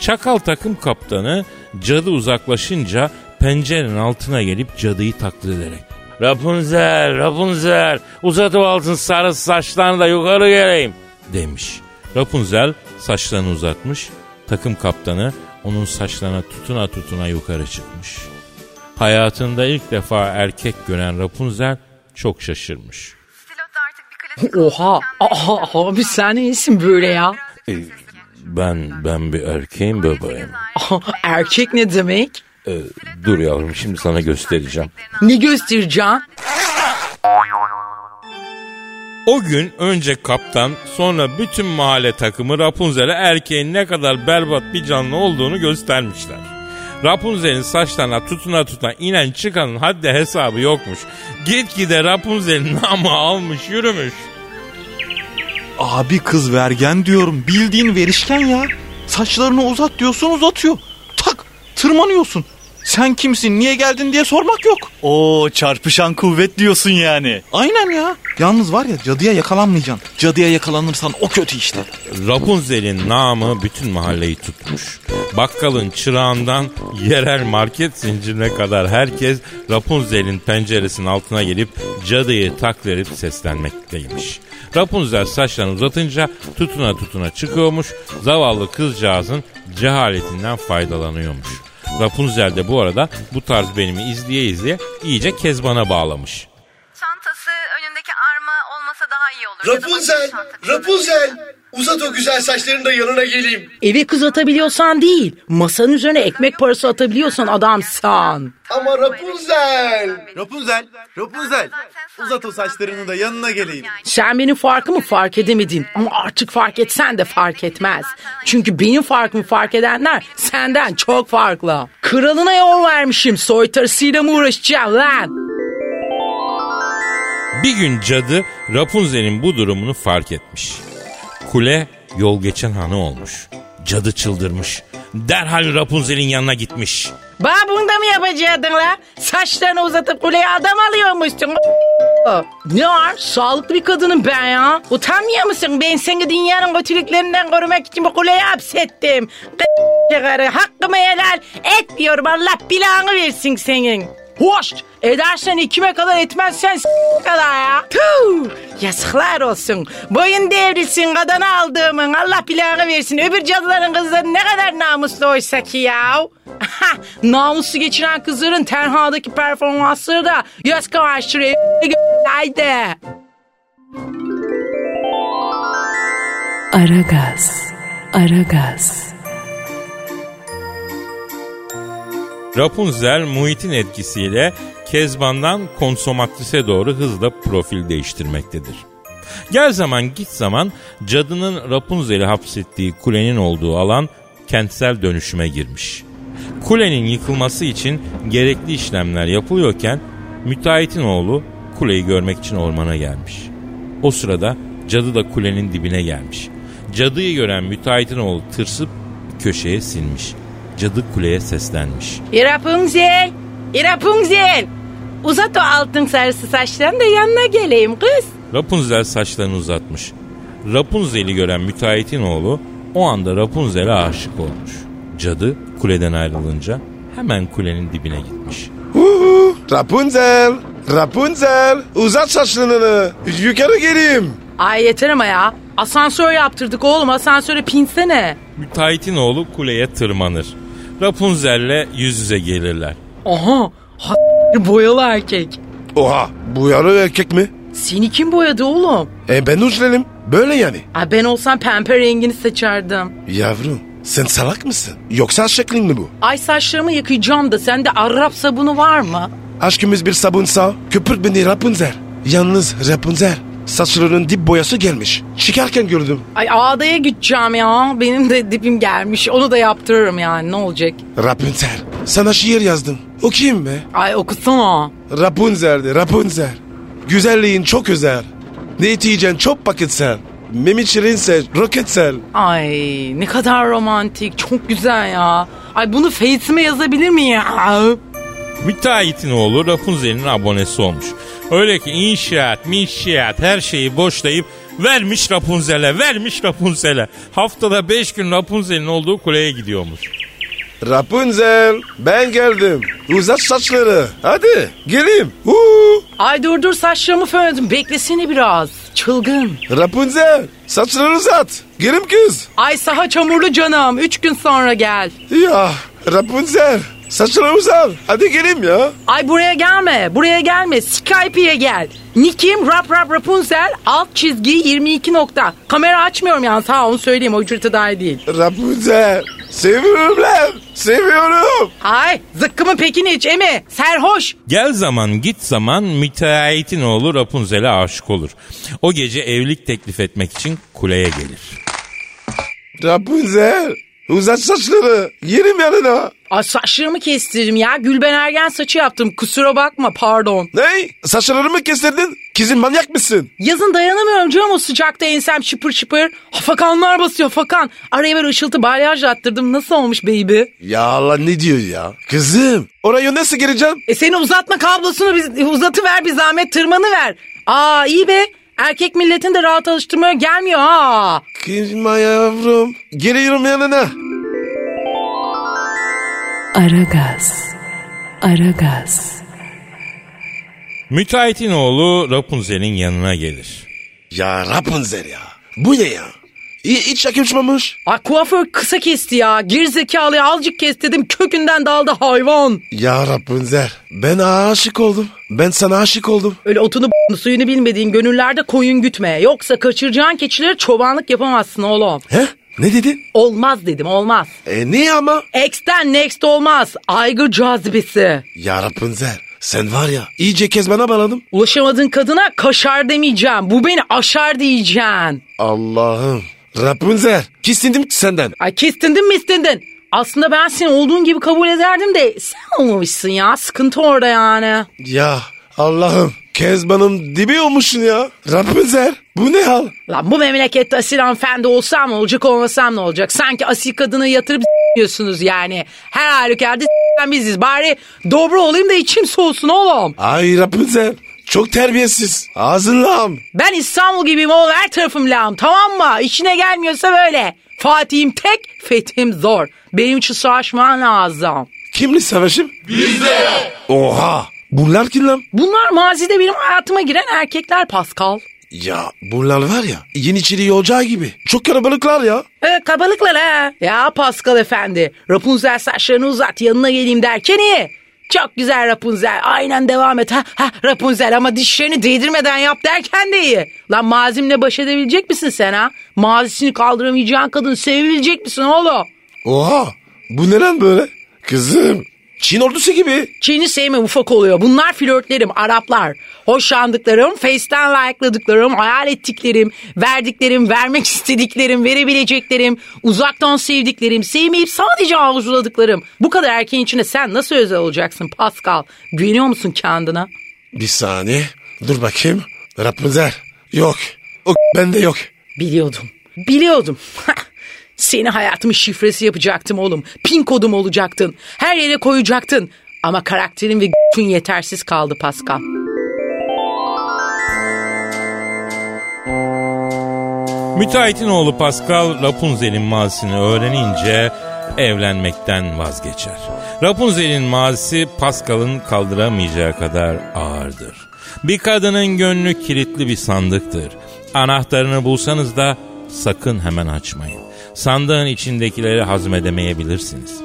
Speaker 2: Çakal takım kaptanı cadı uzaklaşınca pencerenin altına gelip cadıyı taklit ederek Rapunzel, Rapunzel uzat o altın sarı saçlarını da yukarı geleyim demiş. Rapunzel saçlarını uzatmış. Takım kaptanı onun saçlarına tutuna tutuna yukarı çıkmış. Hayatında ilk defa erkek gören Rapunzel çok şaşırmış.
Speaker 4: Oha. Aha, abi sen iyisin böyle ya.
Speaker 2: E, Ben ben bir erkeğim bebeğim.
Speaker 4: Aha, erkek ne demek?
Speaker 2: Ee, dur yavrum şimdi sana göstereceğim.
Speaker 4: Ne göstereceğim?
Speaker 2: O gün önce kaptan sonra bütün mahalle takımı Rapunzel'e erkeğin ne kadar berbat bir canlı olduğunu göstermişler. Rapunzel'in saçlarına tutuna tutuna inen çıkanın haddi hesabı yokmuş. Gitgide Rapunzel'in namı almış yürümüş.
Speaker 5: Abi kız vergen diyorum. Bildiğin verişken ya. Saçlarını uzat diyorsun uzatıyor. Tak tırmanıyorsun. Sen kimsin, niye geldin diye sormak yok.
Speaker 9: Oo çarpışan kuvvet diyorsun yani.
Speaker 5: Aynen ya. Yalnız var ya cadıya yakalanmayacaksın. Cadıya yakalanırsan o kötü işte.
Speaker 2: Rapunzel'in namı bütün mahalleyi tutmuş. Bakkalın çırağından yerel market zincirine kadar herkes Rapunzel'in penceresinin altına gelip cadıyı taklit edip seslenmekteymiş. Rapunzel saçlarını uzatınca tutuna tutuna çıkıyormuş. Zavallı kızcağızın cehaletinden faydalanıyormuş. Rapunzel de bu arada bu tarz benimi izleye izleye iyice kezbana bağlamış.
Speaker 10: Çantası önündeki arma olmasa daha iyi olur. Ya da başka bir
Speaker 11: Rapunzel,
Speaker 10: çanta
Speaker 11: Rapunzel. Uzat o güzel saçlarını da yanına geleyim.
Speaker 4: Eve kız atabiliyorsan değil, masanın üzerine ekmek parası atabiliyorsan adamsan.
Speaker 11: Ama Rapunzel.
Speaker 9: Rapunzel, Rapunzel. Uzat o saçlarını da yanına geleyim.
Speaker 4: Sen benim farkımı fark edemedin ama artık fark etsen de fark etmez. Çünkü benim farkımı fark edenler senden çok farklı. Kralına yol vermişim, soytarısıyla mı uğraşacağım lan?
Speaker 2: Bir gün cadı Rapunzel'in bu durumunu fark etmiş. Kule yol geçen hanı olmuş. Cadı çıldırmış. Derhal Rapunzel'in yanına gitmiş.
Speaker 4: Ba bunu da mı yapacaktın la? Saçlarını uzatıp kuleye adam alıyormuşsun. Ne var? Sağlıklı bir kadınım ben ya. Utanmıyor musun? Ben seni dünyanın kötülüklerinden korumak için bu kuleye hapsettim. Çıkarı. Hakkımı helal etmiyorum. Allah bilanı versin senin. Hoş. Edersen ikime kadar etmezsen s- kadar ya. Tüh. Yazıklar olsun. Boyun devrilsin kadını aldığımın. Allah bilanı versin. Öbür cadıların kızları ne kadar namuslu oysa ki ya. Namuslu geçiren kızların tenhadaki performansları da göz kamaştırıyor. Haydi.
Speaker 1: Aragaz. Aragaz.
Speaker 2: Rapunzel muhitin etkisiyle Kezban'dan konsomatrise doğru hızla profil değiştirmektedir. Gel zaman git zaman cadının Rapunzel'i hapsettiği kulenin olduğu alan kentsel dönüşüme girmiş. Kulenin yıkılması için gerekli işlemler yapılıyorken müteahhitin oğlu kuleyi görmek için ormana gelmiş. O sırada cadı da kulenin dibine gelmiş. Cadıyı gören müteahhitin oğlu tırsıp köşeye sinmiş. Cadı kuleye seslenmiş.
Speaker 4: Rapunzel, Rapunzel. Uzat o altın sarısı saçlarını da yanına geleyim kız.
Speaker 2: Rapunzel saçlarını uzatmış. Rapunzel'i gören müteahhitin oğlu o anda Rapunzel'e aşık olmuş. Cadı kuleden ayrılınca hemen kulenin dibine gitmiş.
Speaker 11: Rapunzel. Rapunzel. Uzat saçlarını. Yukarı geleyim.
Speaker 4: Ay yeter ama ya. Asansör yaptırdık oğlum asansöre pinsene.
Speaker 2: Müteahhitin oğlu kuleye tırmanır. Rapunzel'le yüz yüze gelirler.
Speaker 4: Aha ha, boyalı erkek.
Speaker 11: Oha bu yarı erkek mi?
Speaker 4: Seni kim boyadı oğlum?
Speaker 11: E ben uçlerim. Böyle yani.
Speaker 4: Ay ben olsam pembe rengini seçerdim.
Speaker 11: Yavrum sen salak mısın? Yoksa şeklin mi bu?
Speaker 4: Ay saçlarımı yıkayacağım da sende Arap sabunu var mı?
Speaker 11: Aşkımız bir sabunsa köpür beni Rapunzel. Yalnız Rapunzel saçlarının dip boyası gelmiş. Çıkarken gördüm.
Speaker 4: Ay ağdaya gideceğim ya. Benim de dipim gelmiş. Onu da yaptırırım yani ne olacak?
Speaker 11: Rapunzel sana şiir yazdım. Okuyayım mı?
Speaker 4: Ay okusana.
Speaker 11: Rapunzel'di Rapunzel. Güzelliğin çok özel. Neticen çok paketsel. Memi çirinse roketsel.
Speaker 4: Ay ne kadar romantik. Çok güzel ya. Ay bunu face'ime yazabilir miyim ya?
Speaker 2: Müteahhitin oğlu Rapunzel'in abonesi olmuş. Öyle ki inşaat, minşaat her şeyi boşlayıp vermiş Rapunzel'e, vermiş Rapunzel'e. Haftada 5 gün Rapunzel'in olduğu kuleye gidiyormuş.
Speaker 11: Rapunzel ben geldim. Uzat saçları. Hadi geleyim. Huu.
Speaker 4: Ay dur dur saçlarımı fönledim. Beklesene biraz. Çılgın.
Speaker 11: Rapunzel saçları uzat. Gelim kız.
Speaker 4: Ay saha çamurlu canım. Üç gün sonra gel.
Speaker 11: Ya Rapunzel saçları uzat. Hadi gelim ya.
Speaker 4: Ay buraya gelme. Buraya gelme. Skype'ye gel. Nikim Rap Rap Rapunzel alt çizgi 22 nokta. Kamera açmıyorum yalnız ha onu söyleyeyim o ücrete dair değil.
Speaker 11: Rapunzel seviyorum lan. Seviyorum.
Speaker 4: Ay zıkkımın pekini iç Emi. Serhoş.
Speaker 2: Gel zaman git zaman müteahhitin oğlu Rapunzel'e aşık olur. O gece evlilik teklif etmek için kuleye gelir.
Speaker 11: Rapunzel uzat saçları. Yerim yanına.
Speaker 4: Ay saçlarımı kestirdim ya. Gülben Ergen saçı yaptım. Kusura bakma pardon.
Speaker 11: Ne? Saçlarını mı kestirdin? Kızım manyak mısın?
Speaker 4: Yazın dayanamıyorum canım o sıcakta ensem şıpır şıpır. Hafakanlar basıyor hafakan. Araya böyle ışıltı balyaj attırdım. Nasıl olmuş baby?
Speaker 11: Ya Allah ne diyor ya? Kızım oraya nasıl gireceğim?
Speaker 4: E seni uzatma kablosunu biz, uzatıver bir zahmet tırmanı ver. Aa iyi be. Erkek milletin de rahat alıştırmaya gelmiyor ha.
Speaker 11: Kızma yavrum. Geliyorum yanına.
Speaker 1: Aragaz. Aragaz.
Speaker 2: Müteahhitin oğlu Rapunzel'in yanına gelir.
Speaker 11: Ya Rapunzel ya. Bu ne ya? İ- iç yakışmamış.
Speaker 4: Ay kuaför kısa kesti ya. Gerizekalıya azıcık kes dedim kökünden daldı hayvan.
Speaker 11: Ya Rapunzel ben aşık oldum. Ben sana aşık oldum.
Speaker 4: Öyle otunu b***ını, suyunu bilmediğin gönüllerde koyun gütme. Yoksa kaçıracağın keçilere çobanlık yapamazsın oğlum.
Speaker 11: He? Ne dedin?
Speaker 4: Olmaz dedim olmaz.
Speaker 11: E niye ama?
Speaker 4: Ex'ten next olmaz. Aygır cazibesi.
Speaker 11: Ya Rapunzel sen var ya iyice kezbana bağladım.
Speaker 4: Ulaşamadığın kadına kaşar demeyeceğim. Bu beni aşar diyeceksin.
Speaker 11: Allah'ım. Rapunzel kistindim senden.
Speaker 4: Ay kestindin mi istindin? Aslında ben seni olduğun gibi kabul ederdim de sen olmamışsın ya. Sıkıntı orada yani.
Speaker 11: Ya Allah'ım kezbanım dibi olmuşsun ya. Rapunzel bu ne hal?
Speaker 4: Lan bu memlekette asil hanımefendi olsam ne olacak olmasam ne olacak? Sanki asil kadını yatırıp diyorsunuz yani. Her halükarda s**en biziz. Bari dobra olayım da içim soğusun oğlum.
Speaker 11: Ay Rapunzel çok terbiyesiz. Ağzın lağım.
Speaker 4: Ben İstanbul gibiyim oğlum her tarafım lağım tamam mı? İşine gelmiyorsa böyle. Fatih'im tek, fethim zor. Benim için savaşman lazım.
Speaker 11: Kimli savaşım? Bizde. Oha. Bunlar kim lan?
Speaker 4: Bunlar mazide benim hayatıma giren erkekler Pascal.
Speaker 11: Ya bunlar var ya Yeniçeri ocağı gibi. Çok kalabalıklar ya.
Speaker 4: Ee, kabalıklar ha. Ya Pascal efendi. Rapunzel saçlarını uzat yanına geleyim derken iyi. Çok güzel Rapunzel. Aynen devam et. Ha, ha Rapunzel ama dişlerini değdirmeden yap derken de iyi. Lan mazimle baş edebilecek misin sen ha? Mazisini kaldıramayacağın kadın sevebilecek misin oğlum?
Speaker 11: Oha. Bu ne lan böyle? Kızım. Çin ordusu gibi.
Speaker 4: Çin'i sevme ufak oluyor. Bunlar flörtlerim, Araplar. Hoşlandıklarım, Face'ten like'ladıklarım, hayal ettiklerim, verdiklerim, vermek istediklerim, verebileceklerim, uzaktan sevdiklerim, sevmeyip sadece arzuladıklarım. Bu kadar erkeğin içine sen nasıl özel olacaksın Pascal? Güveniyor musun kendine?
Speaker 11: Bir saniye. Dur bakayım. Rapunzel. Yok. O bende yok.
Speaker 4: Biliyordum. Biliyordum. Seni hayatımın şifresi yapacaktım oğlum. Pin kodum olacaktın. Her yere koyacaktın. Ama karakterin ve g***ün yetersiz kaldı Pascal.
Speaker 2: Müteahhitin oğlu Pascal Rapunzel'in mazisini öğrenince evlenmekten vazgeçer. Rapunzel'in mazisi Pascal'ın kaldıramayacağı kadar ağırdır. Bir kadının gönlü kilitli bir sandıktır. Anahtarını bulsanız da sakın hemen açmayın. Sandığın içindekileri hazmedemeyebilirsiniz.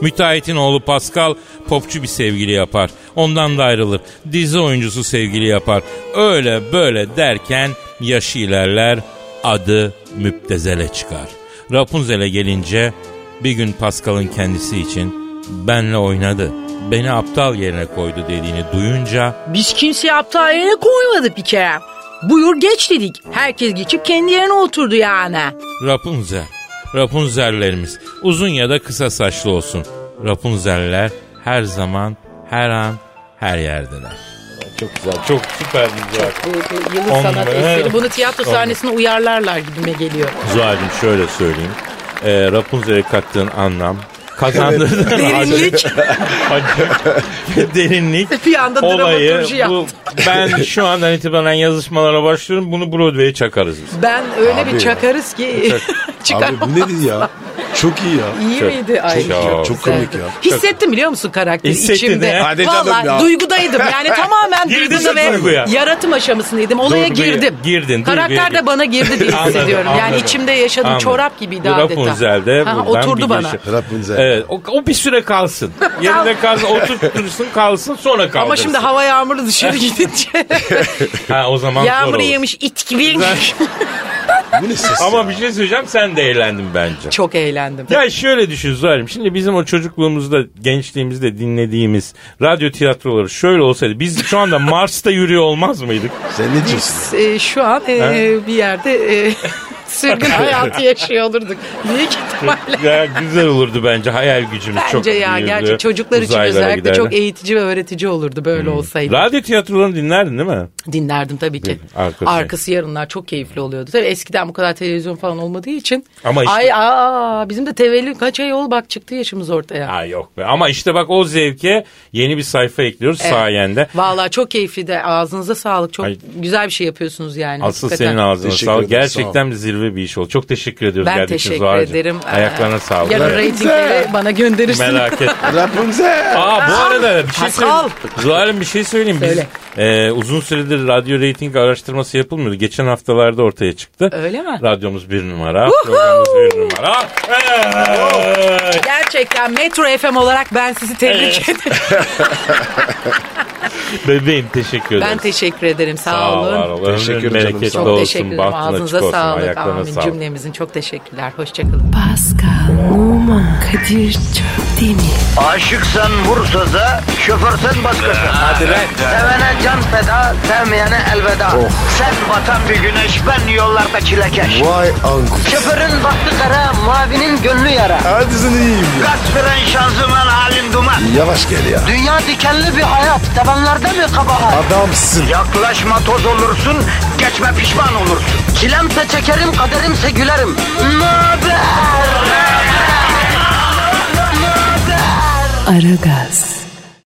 Speaker 2: Müteahhitin oğlu Pascal popçu bir sevgili yapar. Ondan da ayrılır. Dizi oyuncusu sevgili yapar. Öyle böyle derken yaşı ilerler. Adı müptezele çıkar. Rapunzel'e gelince bir gün Pascal'ın kendisi için benle oynadı. Beni aptal yerine koydu dediğini duyunca
Speaker 4: Biz kimseyi aptal yerine koymadık bir kere. Buyur geç dedik. Herkes geçip kendi yerine oturdu yani.
Speaker 2: Rapunzel. Rapunzellerimiz uzun ya da kısa saçlı olsun. Rapunzeller her zaman, her an, her yerdeler. Çok güzel, çok süper güzel.
Speaker 4: Yılın
Speaker 2: Ondan-
Speaker 4: sanat eseri. Bunu tiyatro
Speaker 2: Ondan-
Speaker 4: sahnesine uyarlarlar gibime geliyor.
Speaker 2: Zuhal'cim şöyle söyleyeyim. Ee, Rapunzel'e kattığın anlam kazandırdığın
Speaker 4: Derinlik.
Speaker 2: acı- derinlik
Speaker 4: Bir anda
Speaker 2: olayı
Speaker 4: dramaturji yaptı.
Speaker 2: bu, ben şu andan itibaren yazışmalara başlıyorum bunu Broadway'e çakarız biz.
Speaker 4: Ben öyle bir
Speaker 11: Abi.
Speaker 4: çakarız ki. Çıkar.
Speaker 11: Abi bu nedir ya? Çok iyi ya.
Speaker 4: İyi
Speaker 2: Çok-
Speaker 4: miydi? Ay.
Speaker 11: Çok, iyi ya, çok komik ya.
Speaker 4: Hissettim biliyor musun karakteri
Speaker 2: Hissettin
Speaker 4: içimde.
Speaker 2: he?
Speaker 11: Hadi canım
Speaker 4: Vallahi
Speaker 11: ya.
Speaker 4: duygudaydım. Yani tamamen
Speaker 2: Girdin
Speaker 4: duyguda
Speaker 2: mi
Speaker 4: ve
Speaker 2: duyguya?
Speaker 4: yaratım aşamasındaydım. Olaya
Speaker 2: Duyguya
Speaker 4: girdim.
Speaker 2: girdin, duyguya
Speaker 4: Karakter
Speaker 2: girdin.
Speaker 4: de bana girdi diye
Speaker 2: Anladım,
Speaker 4: hissediyorum. Yani
Speaker 2: anladım.
Speaker 4: içimde yaşadım.
Speaker 2: Anladım.
Speaker 4: Çorap gibiydi
Speaker 2: Bu
Speaker 4: adeta.
Speaker 2: Rapunzel'de buradan
Speaker 4: Ha, oturdu
Speaker 2: bir
Speaker 4: bana.
Speaker 2: girişim.
Speaker 11: Rapunzel.
Speaker 2: Evet, o, o bir süre kalsın. Yerinde kalsın, oturtursun kalsın sonra kaldırırsın.
Speaker 4: Ama şimdi hava yağmuru dışarı gidince
Speaker 2: Ha, o zaman zor
Speaker 4: yağmuru
Speaker 2: olur.
Speaker 4: yemiş it gibi.
Speaker 11: Bu ne ses?
Speaker 2: Ama bir şey söyleyeceğim sen de eğlendin bence.
Speaker 4: Çok eğlendim.
Speaker 2: Ya şöyle düşün Zuhal'im. Şimdi bizim o çocukluğumuzda, gençliğimizde dinlediğimiz radyo tiyatroları şöyle olsaydı biz şu anda Mars'ta yürüyor olmaz mıydık?
Speaker 4: E,
Speaker 11: Sen ne diyorsun?
Speaker 4: Ee, şu an ee, bir yerde ee, sürgün hayatı yaşıyor olurduk. Büyük ihtimalle.
Speaker 2: ya güzel olurdu bence hayal gücümüz çok
Speaker 4: Bence ya
Speaker 2: iyiydi.
Speaker 4: gerçek çocuklar için
Speaker 2: Uzaylara Hmm.
Speaker 4: özellikle
Speaker 2: giderdi.
Speaker 4: çok eğitici ve öğretici olurdu böyle olsaydı.
Speaker 2: Radyo tiyatrolarını dinlerdin değil mi?
Speaker 4: Dinlerdim tabii ki.
Speaker 2: Arkası.
Speaker 4: Arkası yarınlar çok keyifli oluyordu. Tabii eskiden bu kadar televizyon falan olmadığı için.
Speaker 2: Ama işte-
Speaker 4: Ay aa bizim de tevelli kaç ay ol bak çıktı yaşımız ortaya.
Speaker 2: Ha yok be. Ama işte bak o zevke yeni bir sayfa ekliyoruz
Speaker 4: Evet.
Speaker 2: sayende.
Speaker 4: Vallahi çok keyifli de ağzınıza sağlık. Çok
Speaker 2: Ay.
Speaker 4: güzel bir şey yapıyorsunuz yani.
Speaker 2: Asıl
Speaker 4: hakikaten.
Speaker 2: senin ağzına
Speaker 3: Teşekkür
Speaker 2: sağlık.
Speaker 3: ederim,
Speaker 2: Gerçekten zirve bir iş oldu. Çok teşekkür ediyoruz.
Speaker 4: Ben
Speaker 2: geldiğin için
Speaker 4: teşekkür
Speaker 2: Zuhal'cığım.
Speaker 4: ederim.
Speaker 2: Ayaklarına
Speaker 4: Ee,
Speaker 2: sağlık.
Speaker 4: Yarın reytingleri bana gönderirsin.
Speaker 2: Merak etme.
Speaker 11: Rapunzel.
Speaker 2: Aa bu arada bir şey
Speaker 4: Pascal.
Speaker 2: söyleyeyim. Zuhal'im bir şey söyleyeyim. Biz
Speaker 4: Söyle.
Speaker 2: e, uzun süredir radyo reyting araştırması yapılmıyordu. Geçen haftalarda ortaya çıktı.
Speaker 4: Öyle mi?
Speaker 2: Radyomuz bir numara. Programımız bir numara. Evet.
Speaker 4: Gerçekten Metro FM olarak ben sizi tebrik ederim.
Speaker 2: Bebeğim teşekkür ederim.
Speaker 4: Ben teşekkür ederim. Sağ,
Speaker 2: Sağ ol,
Speaker 4: olun.
Speaker 2: var ol. Ömrün
Speaker 11: Teşekkür ederim canım,
Speaker 2: bereketli
Speaker 11: sağ
Speaker 4: Çok
Speaker 2: olsun.
Speaker 4: teşekkür ederim.
Speaker 2: Bahtın
Speaker 4: Ağzınıza
Speaker 2: açık olsun.
Speaker 4: sağlık.
Speaker 2: Ayaklarına
Speaker 4: Amin.
Speaker 2: sağlık.
Speaker 4: Cümlemizin çok teşekkürler. Hoşçakalın.
Speaker 1: Pascal, Numan, Kadir çok değil mi?
Speaker 7: Aşıksan vursa da şoförsen başkasın. Hadi Sevene can feda, sevmeyene elveda. Sen batan bir güneş, ben yollarda çilekeş.
Speaker 11: Vay anku.
Speaker 7: Şoförün baktı kara, mavinin gönlü yara.
Speaker 11: Hadi sen iyiyim ya.
Speaker 7: Kasperen şanzıman halin duman.
Speaker 11: Yavaş gel ya.
Speaker 7: Dünya dikenli bir hayat, sevenlerde mi kabahar?
Speaker 11: Adamsın.
Speaker 7: Yaklaşma toz olursun, geçme pişman olursun. Çilemse çekerim, kaderimse gülerim. Möber!
Speaker 1: Aragaz.